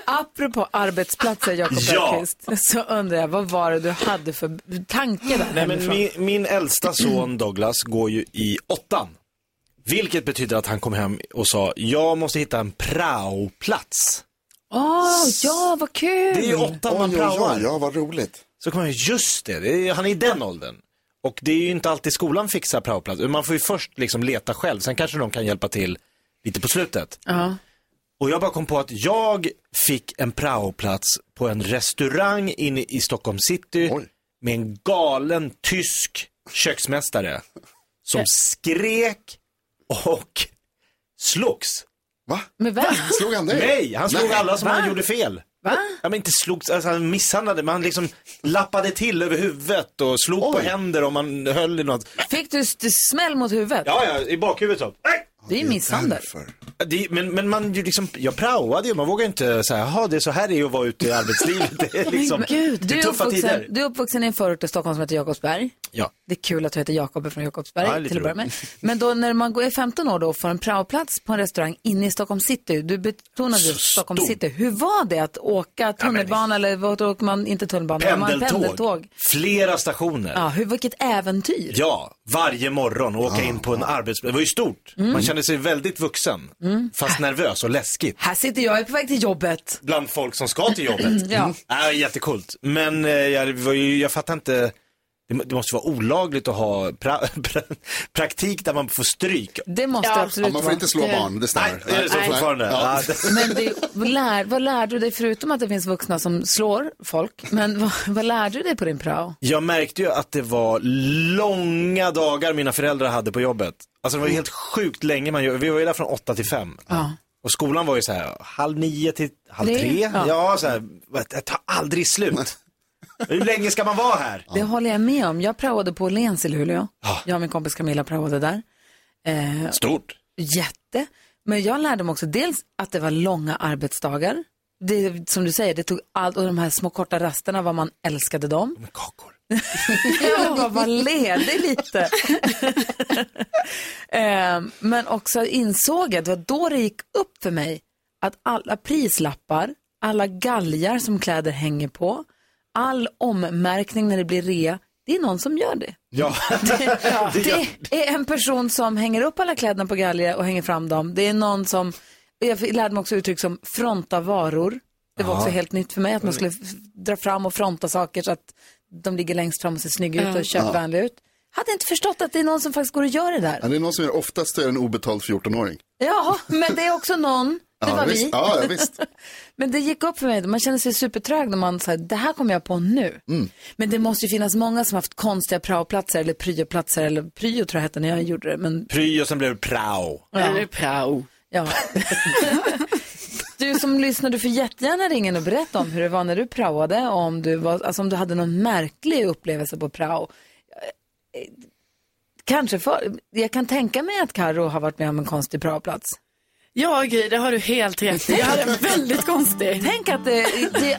Apropå arbetsplatser, Jakob
Ja.
Ökvist, så undrar jag vad var det du hade för tanke där
Nej, men
hemifrån?
min, min äldsta son Douglas går ju i åttan. Vilket betyder att han kom hem och sa, jag måste hitta en praoplats.
Åh, ja, vad kul!
Det är ju åttan man
Mm. Oj, oj, oj,
praoar.
ja vad roligt.
Så kommer jag, just det, det är, han är i den åldern. Och det är ju inte alltid skolan fixar praoplats. Man får ju först liksom leta själv, sen kanske de kan hjälpa till lite på slutet.
Ja.
Och jag bara kom på att jag fick en praoplats på en restaurang inne i Stockholm city
Oj.
med en galen tysk köksmästare som skrek och slogs.
Va?
Med vem?
Slog han dig?
Nej, han slog
Nej.
alla som han gjorde fel.
Va?
Ja, men inte slogs, alltså han misshandlade, men han liksom lappade till över huvudet och slog på händer om man höll i något.
Fick du st- smäll mot huvudet?
Ja, ja, i bakhuvudet så. Nej!
Det är ju misshandel.
Därför.
Det, men, men man ju liksom, jag praoade ju, man vågar inte säga, jaha det är så här det är att vara ute i arbetslivet. Det är liksom,
Men gud,
det
Du
är
är,
tuffa
uppvuxen,
tider.
du är uppvuxen i en förort i Stockholm som heter Jakobsberg.
Ja.
Det är kul att du heter Jakob är från Jakobsberg
Ja, lite
till att börja med.
roligt.
Men då när man går är 15 år då och får en praoplats på en restaurang inne i Stockholm city. Du betonade ju Stockholm
stor.
city. Hur var det att åka tunnelbana eller vad åker man, inte tunnelbana, men man
Pendeltåg.
pendeltåg.
Flera stationer.
Ja, hur, vilket äventyr.
Ja, varje morgon och åka in på en arbetsplats. Det var ju stort.
Mm.
Man kände sig väldigt vuxen, fast nervös och läskigt.
Här Mm. sitter jag, jag är på väg till jobbet.
Bland folk som ska till jobbet.
Ja.
Mm. Ja, jättekult. Men eh, jag, var ju, jag fattar inte, det, må- det måste vara olagligt att ha pra, pra, praktik där man får stryk.
Det måste
Ja.
absolut
Ja, man får
vara.
inte slå barn, det
Nej,
stämmer.
det är så
Nej.
fortfarande.
Ja.
Ja. det-
Men det, vad, lär, vad lärde du dig, förutom att det finns vuxna som slår folk, men vad, vad lärde du dig på din prao?
Jag märkte ju att det var långa dagar mina föräldrar hade på jobbet. Alltså det var ju helt sjukt länge man gör. Vi var ju där från åtta till fem. Och skolan var ju så här halv nio till halv
Det-
tre.
ja.
Ja, så här, det tar aldrig slut. Hur länge ska man vara här?
Det håller jag med om. Jag praoade på Åhléns i Luleå. Jag och min kompis Camilla praoade där. Eh,
Stort.
Jätte. Men jag lärde mig också dels att det var långa arbetsdagar. Det, som du säger, det tog allt och de här små korta rasterna vad man älskade dem.
Med kakor.
Jag vill bara vara ledig lite. Eh, Men också insåg jag, det var då det gick upp för mig att alla prislappar, alla galgar som kläder hänger på, all ommärkning när det blir rea, det är någon som gör det.
Ja.
Det är en person som hänger upp alla kläderna på galgar och hänger fram dem. Det är någon som, jag fick- lärde mig också uttryck som fronta varor. Det var också helt nytt för mig att man skulle f- dra fram och fronta saker så att de ligger längst fram och ser snygga ut och köpvänliga ut. Hade inte förstått att det är någon som faktiskt går och gör det
Ja,
där.
det är någon som gör, oftast är det en obetald 14-åring.
Ja, men det är också någon. Det
ja,
var
visst.
vi.
Ja, ja, visst.
Men det gick upp för mig, man känner sig supertrög när man säger det här kommer jag på nu. Men det måste ju finnas många som haft konstiga praoplatser eller pryoplatser eller pryo tror jag hette när jag gjorde det. Men
Pry och sen blev det prao.
Eller prao.
Ja. Du som lyssnar, du får jättegärna ringa in och berätta om hur det var när du praoade, och om du, var, alltså om du hade någon märklig upplevelse på prao. Eh, eh, Kanske för, jag kan tänka mig att Karo har varit med om en konstig praoplats.
Ja, Gry, det har du helt rätt i. Jag hade en väldigt konstig.
Tänk att det, det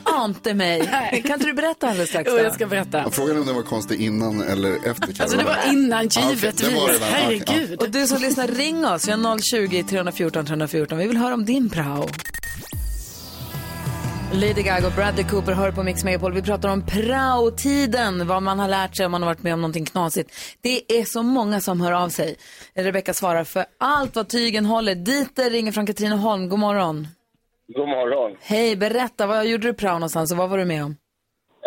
ante mig. Kan inte du berätta alldeles strax?
Jo,
då?
jag ska berätta.
Ja, Frågan är om den var konstig innan eller efter Karin.
Alltså det var innan,
okej.
givetvis.
Det var det, va? Ja, okej, ja.
Herregud.
Och du som lyssnar, ring oss. Vi har 020 314 314. Vi vill höra om din prao. Lady Gaga och Bradley Cooper hör på Mix Megapol. Vi pratar om prao-tiden, vad man har lärt sig om man har varit med om någonting knasigt. Det är så många som hör av sig. Rebecka svarar för allt vad tygen håller. Dieter ringer från Katrineholm. God morgon.
God morgon.
Hej, berätta. Vad gjorde du prao någonstans och vad var du med om?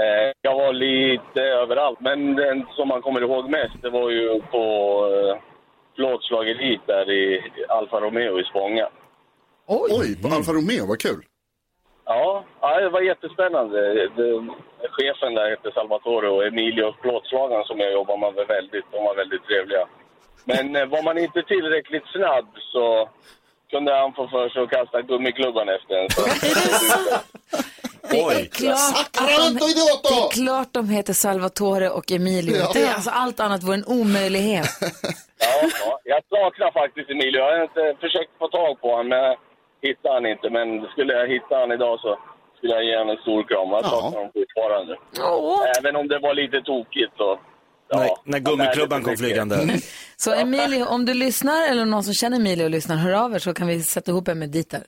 Eh, Jag var lite överallt, men den som man kommer ihåg mest det var ju på eh, plåtslagerit där i Alfa Romeo i Spånga.
Ah, Oj, på Alfa Romeo, vad kul.
Ja, ja, det var jättespännande. Den, chefen där hette Salvatore och Emilio, plåtslagaren som jag jobbar med, var väldigt, de var väldigt trevliga. Men eh, var man inte tillräckligt snabb så kunde han få för sig att kasta gummiklubban efter en. Så,
Det är
Oj.
klart att
Sacramento
de,
idioto!
det är klart de heter Salvatore och Emilio.
Ja.
Det är alltså allt annat vore en omöjlighet.
ja, ja. Jag saknar faktiskt Emilio. Jag har inte försökt få tag på honom, men jag hittade han inte. Men skulle jag hitta honom idag så skulle jag ge honom en stor kram. Jag
Ja.
saknar honom fortfarande.
Åh.
Även om det var lite tokigt så...
När,
Ja,
när
jag lärde
gummiklubban
mig
kom
mycket.
Mm.
flygande.
Så Emilio, om du lyssnar eller någon som känner Emilio och lyssnar, hör av er så kan vi sätta ihop en med Dieter.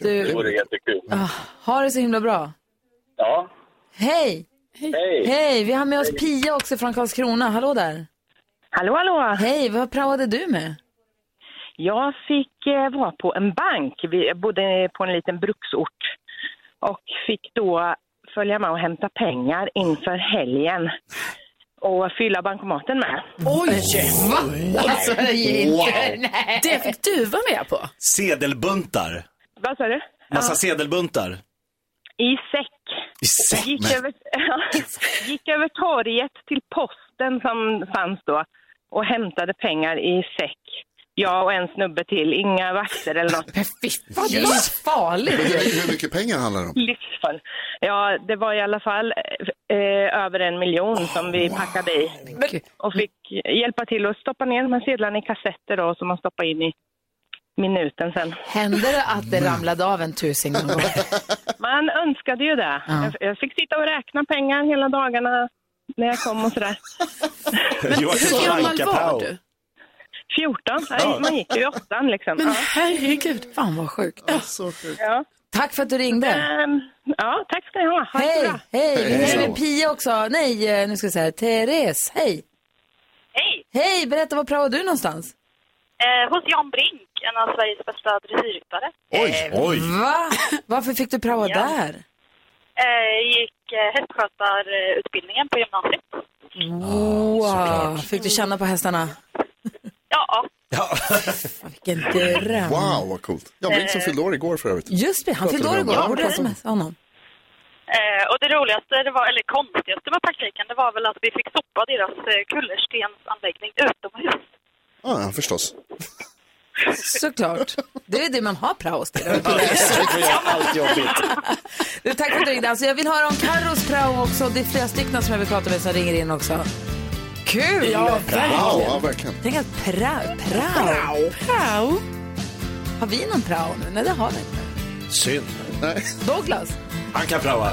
Det
Du,
vore jättekul.
ah, ha det så himla bra.
Ja,
Hej!
hej.
Hej! Vi har med oss Pia också från Karlskrona. Hallå där!
Hallå, hallå!
Hej, vad praoade du med?
Jag fick eh, vara på en bank. Vi jag bodde på en liten bruksort. fick då följa med och hämta pengar inför helgen och fylla bankomaten med.
Oj!
Va? Alltså, det är inte...
Wow.
Nej.
Det fick du vara med på.
Sedelbuntar.
Vad sa du?
Massa sedelbuntar.
I säck.
I säck.
Gick över, gick över torget till posten som fanns då och hämtade pengar i säck. Jag och en snubbe till, inga vakter eller något.
Men fy fan, det är farligt.
Hur, hur mycket pengar handlar det om?
Livsfarligt. Ja, det var i alla fall eh, över en miljon som vi packade i och fick hjälpa till att stoppa ner de här sedlarna i kassetter då, som man stoppar in i minuten sen.
Hände det att det ramlade av en tusing någon gång?
Man önskade ju det.
Ja.
Jag, jag fick sitta och räkna pengar hela dagarna när jag kom och sådär.
Joakim von
Hur gammal var
Anka-Pau.
du?
14, Nej, man gick ju i åttan liksom.
Men
Ja.
herregud.
Fan vad sjukt.
Ja.
Tack för att du ringde.
Ehm, ja, tack ska ni ha. ha det så
Hej,
bra.
hej. Vi
Hej.
hänger med Pia också. Nej, eh, nu ska vi säga Therese. Hej.
Hej!
Hej, berätta, var praoade du någonstans?
Eh, hos Jan Brink, en av Sveriges bästa dressyrryttare.
Oj,
Eh,
oj.
Va? Varför fick du praoa där?
Eh, gick eh, hästskötarutbildningen på gymnasiet.
Wow. Fick du känna på hästarna?
Ja,
Vilken dröm.
Wow, vad coolt. Jag Brink som fyllde år igår för övrigt.
Just det, han fyllde år
Pratar vi om
igår.
det?
Borde smsa honom.
Eh, och det roligaste, det var, eller konstigaste med praktiken, det var väl att vi fick sopa deras eh, kullerstensanläggning utomhus.
Ja, ja, förstås.
Såklart. Det är det man har praos till.
Vi får göra allt jobbigt.
Du, tack för att du ringde. Alltså, jag vill höra om Carros prao också. Det är flera stycken som jag vill prata med som ringer in också. Kul!
Ja,
Wow,
verkligen.
ja, verkligen.
Tänk att prao, prao.
Wow.
Har vi någon prao nu? Nej, det har vi inte.
Synd.
Nej.
Douglas?
Han kan praoa.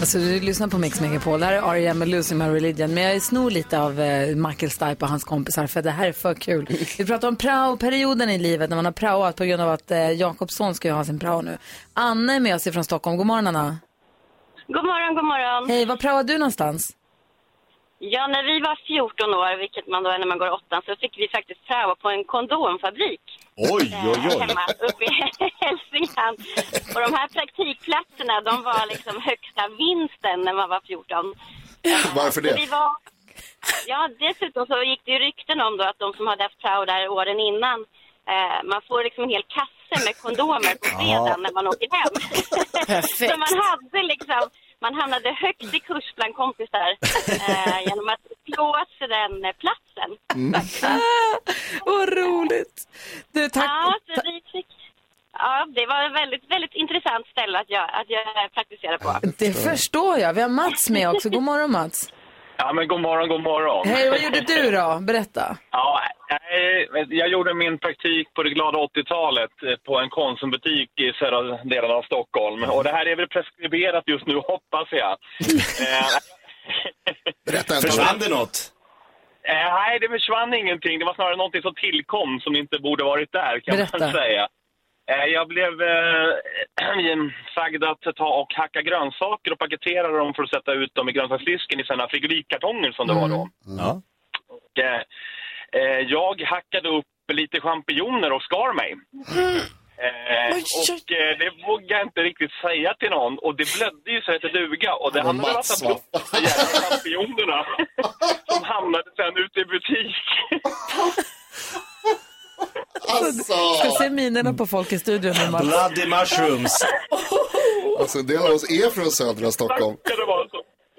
Alltså, du lyssnar på Mix Megapol. Det här är E R.E.M. med Losing My Religion. Men jag snor lite av eh, Michael Stipe och hans kompisar för det här är för kul. Vi pratar om prao-perioden i livet när man har praoat på grund av att eh, Jakobsson ska ju ha sin prao nu. Anne är med oss ifrån Stockholm. God morgon Anna.
God morgon, god morgon.
Hej, var praoade du någonstans?
Ja, när vi var 14 år, vilket man då är när man går i åttan, så fick vi faktiskt pröva på en kondomfabrik.
Oj,
eh,
oj, oj.
Hemma uppe i Hälsingland. Och de här praktikplatserna, de var liksom högsta vinsten när man var 14.
Varför
Vi
det?
var... Ja, dessutom så gick det ju rykten om då att de som hade haft prao där åren innan, eh, man får liksom en hel kasse med kondomer på fredagen när man åker hem.
Perfekt.
så man hade liksom, man hamnade högt i kurs bland kompisar eh, genom att slå sig den eh, platsen.
Vad roligt! Du, tack.
Ja, så vi fick... Ja, det var ett väldigt, väldigt intressant ställe att jag, att jag praktiserade på.
Det förstår jag. Vi har Mats med också. God morgon Mats.
Ja, men god morgon, god morgon.
Hej, vad gjorde du då? Berätta.
Ja, nej, men jag gjorde min praktik på det glada 80-talet eh, på en Konsumbutik i södra delen av Stockholm. Och det här är väl preskriberat just nu, hoppas jag. eh,
Berätta en
Försvann det något?
eh, nej, det försvann ingenting. Det var snarare någonting som tillkom som inte borde varit där, kan
Berätta.
man säga. Eh, jag blev eh, sagd att ta och hacka grönsaker och paketera dem för att sätta ut dem i grönsaksdisken i sådana frigolitkartonger som det
Mm.
var då.
Ja.
Och, eh, eh, jag hackade upp lite champinjoner och skar mig. Eh, och eh, det vågade jag inte riktigt säga till någon och det blödde ju så att det duga och det
Men
hamnade en
Mats,
massa blod på de jävla champinjonerna som hamnade sen ute i butik.
Alltså!
Jag ser minerna på folk i studion nu Mats.
Bloody mushrooms.
alltså, en del av oss är från södra Stockholm.
Kan det vara så?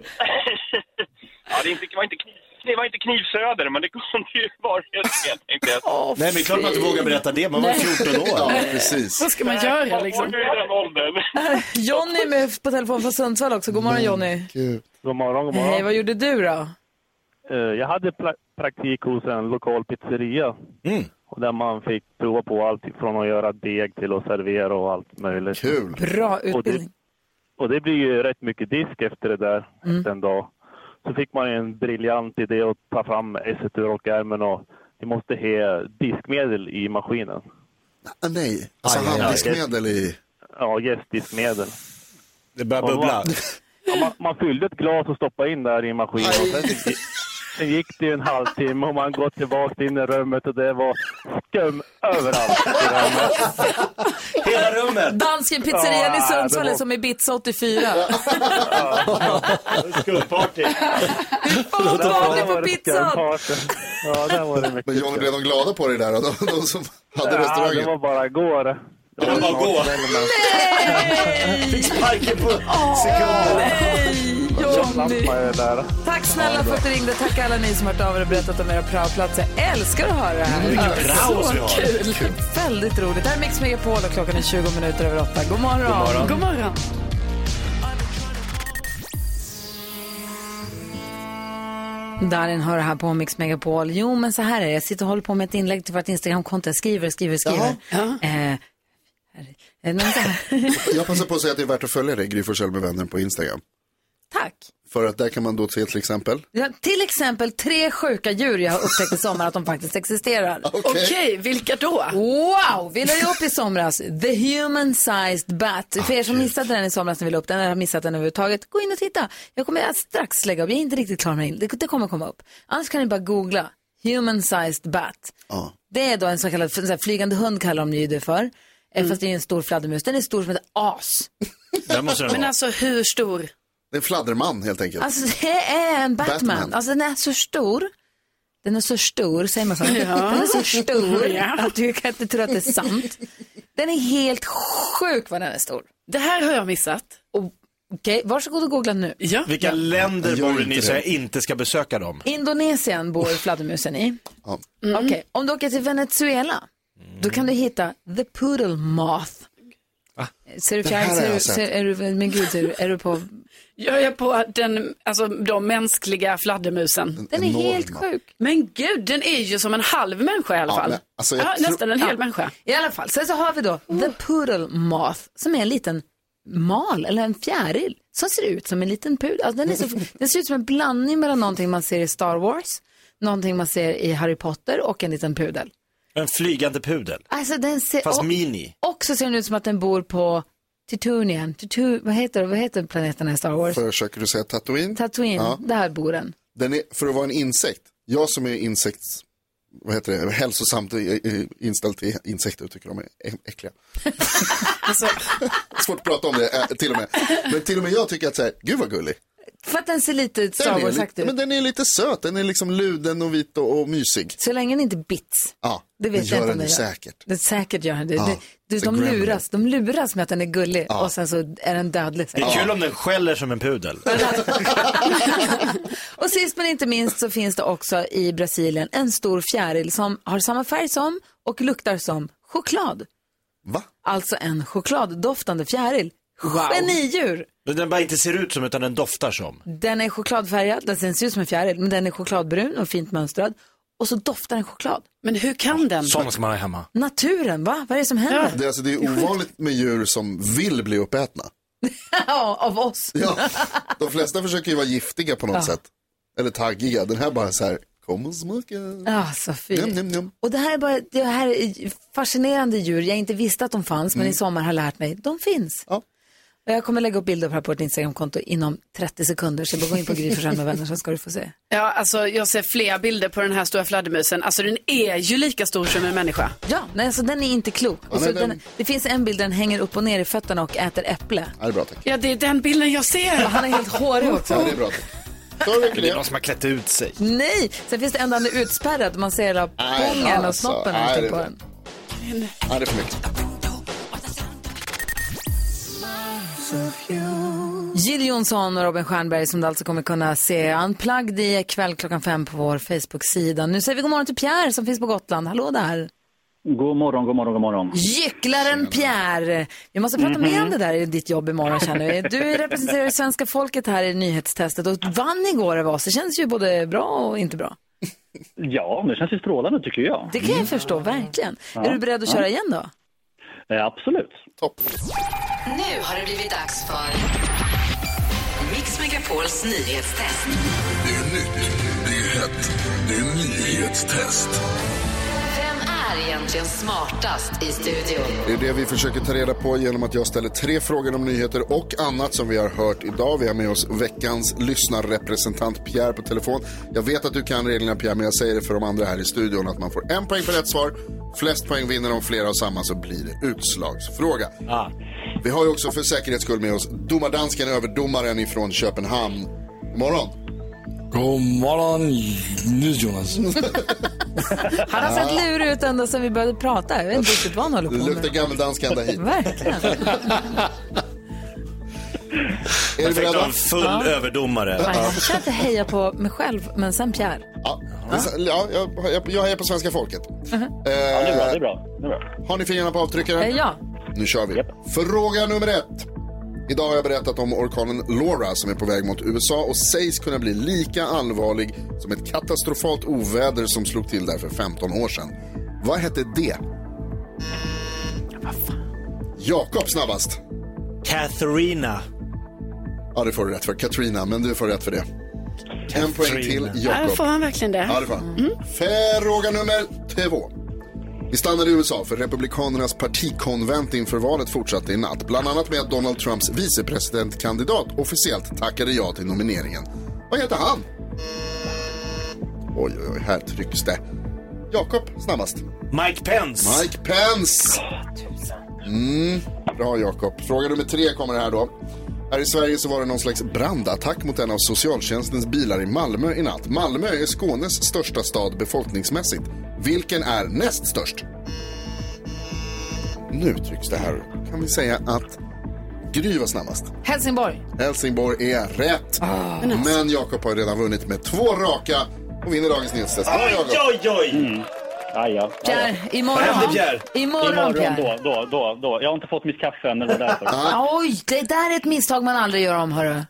ja, det, är inte, det, var inte kniv, det var inte knivsöder men det kunde ju varit fel tänkte jag.
Nej, men det är klart man inte vågar berätta det. Man var 14
Ja,
år.
precis.
Vad ska man göra
Vad
liksom?
var du i den åldern?
Jonny är med på telefon från Sundsvall också. God morgon Jonny.
Gud.
God morgon, god
Hej, vad gjorde du då?
Eh, Jag hade pla- praktik hos en lokal pizzeria.
Mm.
Och där man fick prova på allt från att göra deg till att servera och allt möjligt.
Kul.
Bra utbildning.
Och det blir ju rätt mycket disk efter det där,
Mm.
efter en dag. Så fick man ju en briljant idé att ta fram esset ur rockärmen och vi måste ha diskmedel i maskinen.
Ah, nej, alltså
Aj, aj, aj.
handdiskmedel i...
Ja, gästdiskmedel.
Det börjar bubbla.
Ja, man, man fyllde ett glas och stoppade in där i maskinen. Och sen,
Sen gick det ju en halvtimme och man går tillbaka in i rummet och det var skum överallt i rummet.
Hela rummet?
Dansken pizzerian i
Ja,
Sundsvall
det
är
var-
som i Ibiza 84.
Skumparty.
Vad var det på pizzan?
Ja, där var det mycket
Men Johnny, blev de glada på dig där? då? De, de som hade
Ja,
restaurangen?
det var bara går. Det
var bara går.
Fick
sparken på
sekunden. Nej, Johnny.
där.
Tack snälla för att du ringde. Tack alla ni som hört av er och berättat om era praoplatser. Jag älskar att höra det här.
Mm, vilken
Ja,
prao
så
vi har.
kul. Väldigt roligt. Det här är Mix Megapol och klockan är 20 minuter över 8. God morgon.
God morgon.
God morgon. Darin hör här på Mix Megapol. Jo, men så här är det. Jag sitter och håller på med ett inlägg till vårt Instagramkonto. Jag skriver, skriver, skriver. Eh, eh, men så här.
Jag passar på att säga att det är värt att följa dig, Gry Forssell med vänner på Instagram.
Tack.
För att där kan man då se till exempel.
Ja, till exempel tre sjuka djur jag har upptäckt i sommar att de faktiskt existerar.
Okej.
vilka då? Wow, vi la ju upp i somras The Human Sized Bat. För er som missade den i somras när vi la upp den, eller har missat den överhuvudtaget, gå in och titta. Jag kommer att strax lägga upp, jag är inte riktigt klar med det, det kommer komma upp. Annars kan ni bara googla Human Sized Bat. Det är då en så kallad en sån här flygande hund kallar de ju det för. Mm. Fast det är ju en stor fladdermus, den är stor som ett as.
Där måste den
Men
vara.
alltså hur stor?
Det är en fladderman helt enkelt.
Alltså det är en Batman.
Batman.
Alltså den är så stor. Den är så stor, säger man så.
Ja.
Den är så stor
Ja.
att du kan inte tro att det är sant. Den är helt sjuk vad den är stor.
Det här har jag missat.
Okej, varsågod och googla nu.
Vilka länder
Gör
bor
inte
ni i så
det.
jag inte ska besöka dem?
Indonesien bor fladdermusen i.
Ja.
Mm.
Okej, om du åker till Venezuela, då kan du hitta the poodle moth. Ser du
Ah. Det här
fjäril?
har
Ser
jag
du,
sett.
ser, är du, men gud, ser du, är du på...
Jag är på den, alltså, de mänskliga fladdermusen.
Den är enorma. helt sjuk.
Men gud, den är ju som en halv människa i alla fall. ja, nästan en hel
Ja.
människa.
I alla fall, sen så har vi då the poodle moth som är en liten mal eller en fjäril som ser ut som en liten pudel. Alltså, den, är så, den ser ut som en blandning mellan någonting man ser i Star Wars, någonting man ser i Harry Potter och en liten pudel.
En flygande pudel.
Alltså den ser...
Fast
och-
mini.
Och så ser den ut som att den bor på Titunien. Titu, vad, heter, vad heter planeterna i Star Wars?
Försöker du säga Tatooine?
Tatooine,
Ja.
där bor den.
Den är, för att vara en insekt, jag som är insekts, vad heter det, hälsosamt eh, eh, inställd till insekter tycker de är ä- äckliga.
Alltså,
Svårt att prata om det eh, till och med. Men till och med jag tycker att så här, gud vad gullig.
För att den ser lite ut
Den
Star
är,
Wars
lite, men den är lite söt, den är liksom luden och vit och, och mysig.
Så länge den inte bits.
Ja,
Det vet
gör
jag inte om
den
den
ju säkert.
Det säkert gör den det.
Ja,
det, du,
the
de,
gremlin.
luras, de luras med att den är gullig
Ja.
och sen så är den dödlig.
Det är kul om den skäller som en pudel.
Och sist men inte minst så finns det också i Brasilien en stor fjäril som har samma färg som och luktar som choklad.
Va?
Alltså en chokladdoftande fjäril. Genidjur!
Men den bara inte ser ut som utan den doftar som.
Den är chokladfärgad, den ser ut som en fjäril, men den är chokladbrun och fint mönstrad. Och så doftar den choklad.
Men hur kan den?
Sådana ska man ha hemma.
Naturen, va? Vad är det som händer?
Det, är alltså, det är ovanligt med djur som vill bli uppätna.
Ja, av oss.
De flesta försöker ju vara giftiga på något
Ja.
sätt. Eller taggiga. Den här bara så här, kom och smaka.
Mm.
Ja, Ah, så
Njam,
fint.
njam, njam.
Och det här, är bara, det här är fascinerande djur. Jag inte visste att de fanns,
Mm.
men i sommar har jag lärt mig. De finns. Och jag kommer lägga upp bilder på det här på vårt Instagramkonto inom 30 sekunder. Så bara gå in på Gry Forssell med vänner så ska du få se.
Ja, alltså jag ser flera bilder på den här stora fladdermusen. Alltså den är ju lika stor som en människa.
Ja, nej, alltså den är inte klok.
Ja,
Och så
nej,
den,
den-
det finns en bild där den hänger upp och ner i fötterna och äter äpple.
Ja, det är bra tack.
Ja, det är den bilden jag ser.
Han är helt hårig också.
Ja, det är bra tack.
det är någon som har klätt ut sig.
Nej, sen finns det en där den är utspärrad. Man ser hela
Nej,
pungen och
alltså,
snoppen och
nej,
allting
det-
på den.
Nej, det är för mycket.
Jill Johnson och Robin Stjernberg som du alltså kommer kunna se Unplugged i kväll klockan fem på vår Facebook-sida. Nu säger vi god morgon till Pierre som finns på Gotland. Hallå där!
God morgon, god morgon, god morgon.
Gycklaren Pierre! Vi måste prata
Mhm.
mer om det där i ditt jobb imorgon känner vi. Du representerar ju svenska folket här i nyhetstestet och vann igår över oss. Det känns ju både bra och inte bra.
Ja, men det känns ju strålande tycker jag. Mm.
Det kan jag förstå, verkligen.
Ja,
Är du beredd att köra
ja.
igen då?
Eh, absolut. Topp.
Nu har det blivit dags för Mix Megapols nyhetstest.
Det är nytt, det är hett, det är nyhetstest.
Vem är egentligen egentligen smartast i studion?
Det är det vi försöker ta reda på genom att jag ställer tre frågor om nyheter och annat som vi har hört idag. Vi har med oss veckans lyssnarrepresentant Pierre på telefon. Jag vet att du kan reglerna Pierre, men jag säger det för de andra här i studion att man får en poäng för rätt svar. Flest poäng vinner om flera och samma så blir det utslagsfråga. Vi har ju också för säkerhets skull med oss domardansken, överdomaren ifrån Köpenhamn. God morgon!
God morgon, NyhetsJonas.
Han har sett lurig ut ända sedan vi började prata. Jag vet inte riktigt vad han håller på med.
Luktar gammeldansk ända hit.
Verkligen.
Är ni
Perfekt att
beredda?
ha en full
Ja.
Äh,
överdomare.
Jag försöker inte heja på mig själv, men sen Pierre.
Ja, ja jag, jag, jag hejar på svenska folket. Eh,
Ja, det är bra, det är bra. Det är bra.
Har ni fingrarna på
Uh-huh. Eh,
avtryckaren?
Ja.
Nu kör vi. Fråga nummer ett. Idag har jag berättat om orkanen Laura som är på väg mot USA och sägs kunna bli lika allvarlig som ett katastrofalt oväder som slog till där för 15 år sedan. Vad hette det? Jakob snabbast.
Katharina.
Ja, det får du rätt för. Katrina, men du får rätt för det. En poäng till
Ja,
Äh,
Jakob.
får han verkligen det?
Ja, det får han. Fråga nummer två. Vi stannar i USA för Republikanernas partikonvent inför valet fortsatte i natt. Bland annat med att Donald Trumps vicepresidentkandidat officiellt tackade ja till nomineringen. Vad heter han? Oj, oj, oj, här trycks det. Jakob, snabbast.
Mike Pence.
Mike Pence. Mm, bra Jakob. Fråga nummer tre kommer här då. Här i Sverige så var det någon slags brandattack mot en av socialtjänstens bilar i Malmö i natt. Malmö är Skånes största stad befolkningsmässigt. Vilken är näst störst? Nu trycks det här. Kan vi säga att Gry var snabbast.
Helsingborg.
Helsingborg är rätt. Men Jakob har ju redan vunnit med två raka och vinner dagens nyhetstest. Bra,
Oj,
Jakob. Mm.
oj, oj!
Ja,
Ah,
ja.
Pierre, imorgon.
Vad hände, Pierre?
Imorgon, Pierre.
då, då, då, då. Jag har inte fått mitt kaffe än, det var därför.
Ah, Oj, det där är ett misstag man aldrig gör om, hörru.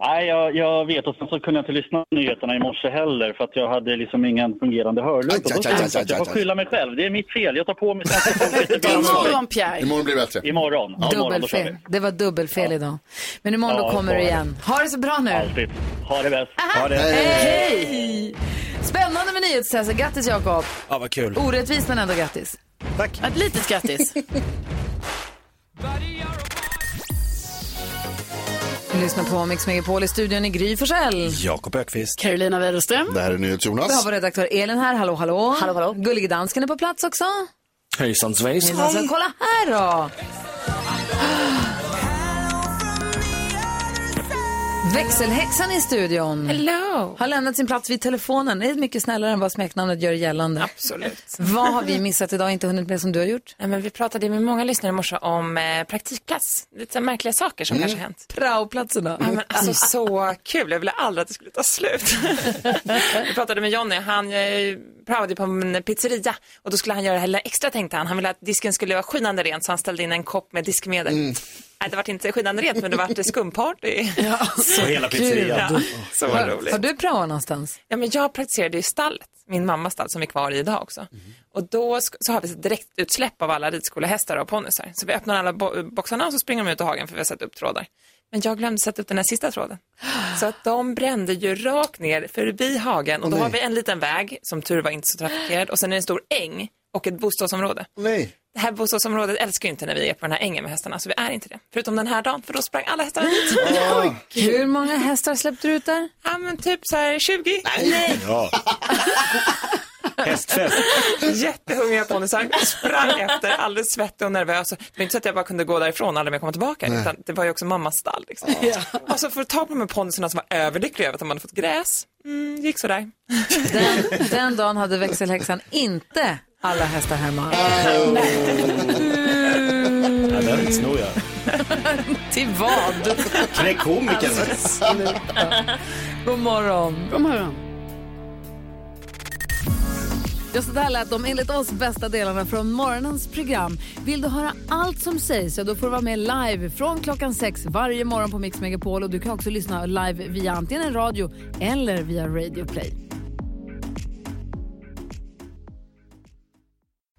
Nej, jag, jag vet. Och sen så kunde jag inte lyssna på nyheterna i morse heller för att jag hade liksom ingen fungerande hörlur. på.
aj,
Då
aj,
tänkte jag
aj,
att jag
aj,
får
aj.
skylla mig själv. Det är mitt fel. Jag tar på mig svenska folket.
Det är imorgon, Pierre.
Imorgon blir det bättre.
Imorgon. Ja, imorgon då kör vi.
Dubbelfel. Det var dubbelfel idag. Men imorgon
Ja,
då kommer
så
du
är det.
igen. Ha det så bra nu.
Alltid. Ha det bäst.
Ha det.
Hej! Spännande med nyhetstestet. Grattis, Jakob.
Ja, vad kul.
Orättvist, men ändå grattis.
Tack.
Ett litet grattis.
Vi lyssnar på Mix Megapol i studion i Gry Forssell.
Jakob Ökvist.
Carolina Widerström.
Det här är
Vi har
NyhetsJonas.
vår redaktör Elin här. Hallå, hallå. hallå, hallå. Gullige dansken är på plats också.
Hejsan svejsan.
Hejsan, så kolla här då. Växelhäxan i studion. Hello. Har lämnat sin plats vid telefonen. Det är mycket snällare än vad smeknamnet gör gällande.
Absolut.
Vad har vi missat idag och inte hunnit med som du har gjort?
Nej, men vi pratade med många lyssnare i morse om eh, praktikplats. Lite så här märkliga saker som
Mm.
kanske har hänt.
Praoplatserna.
Ja, men alltså så kul. Jag ville aldrig att det skulle ta slut. Vi pratade med Jonny. Han eh, praoade på en pizzeria och då skulle han göra det här lilla extra tänkte han. Han ville att disken skulle vara skinande rent så han ställde in en kopp med diskmedel.
Mm.
Nej, det var inte skinande rent men det var skumparty. Ja,
Så hela pizzerian.
Ja, så var
Har,
roligt.
har du praoat någonstans?
Ja, men jag praktiserade i stallet, min mammas stall som är kvar i idag också. Och då sk- så har vi ett direktutsläpp av alla ridskolehästar och ponnysar. Så vi öppnar alla bo- boxarna och så springer de ut i hagen för vi har satt upp trådar. Men jag glömde sätta upp den här sista tråden. Så att de brände ju rakt ner förbi hagen och då
Åh,
har
nej.
vi en liten väg, som tur var inte så trafikerad, och sen är det en stor äng och ett bostadsområde.
Nej.
Det här bostadsområdet älskar ju inte när vi är på den här ängen med hästarna, så vi är inte det. Förutom den här dagen, för då sprang alla hästarna dit.
Hur många hästar släppte du ut där?
Ja, men typ så här 20.
Nej.
Ja. Hästfest.
Jättehungriga ponnysar. Sprang efter, alldeles svettig och nervös. Det var inte så att jag bara kunde gå därifrån och aldrig mer komma tillbaka.
Nej.
Utan det var ju också mammas stall. Liksom. Och så för att ta på de här ponnyerna som var överlyckliga över att de hade fått gräs. Mm, gick sådär.
Den dagen hade växelhäxan inte alla hästar hemma.
Oh, Ja, den snor jag.
Till vad?
Knäck komikern.
God morgon.
God morgon.
Ja, så där lät de enligt oss bästa delarna från morgonens program. Vill du höra allt som sägs, ja, då får du vara med live från klockan sex varje morgon på Mix Megapol. Och du kan också lyssna live via antingen radio eller via Radio Play.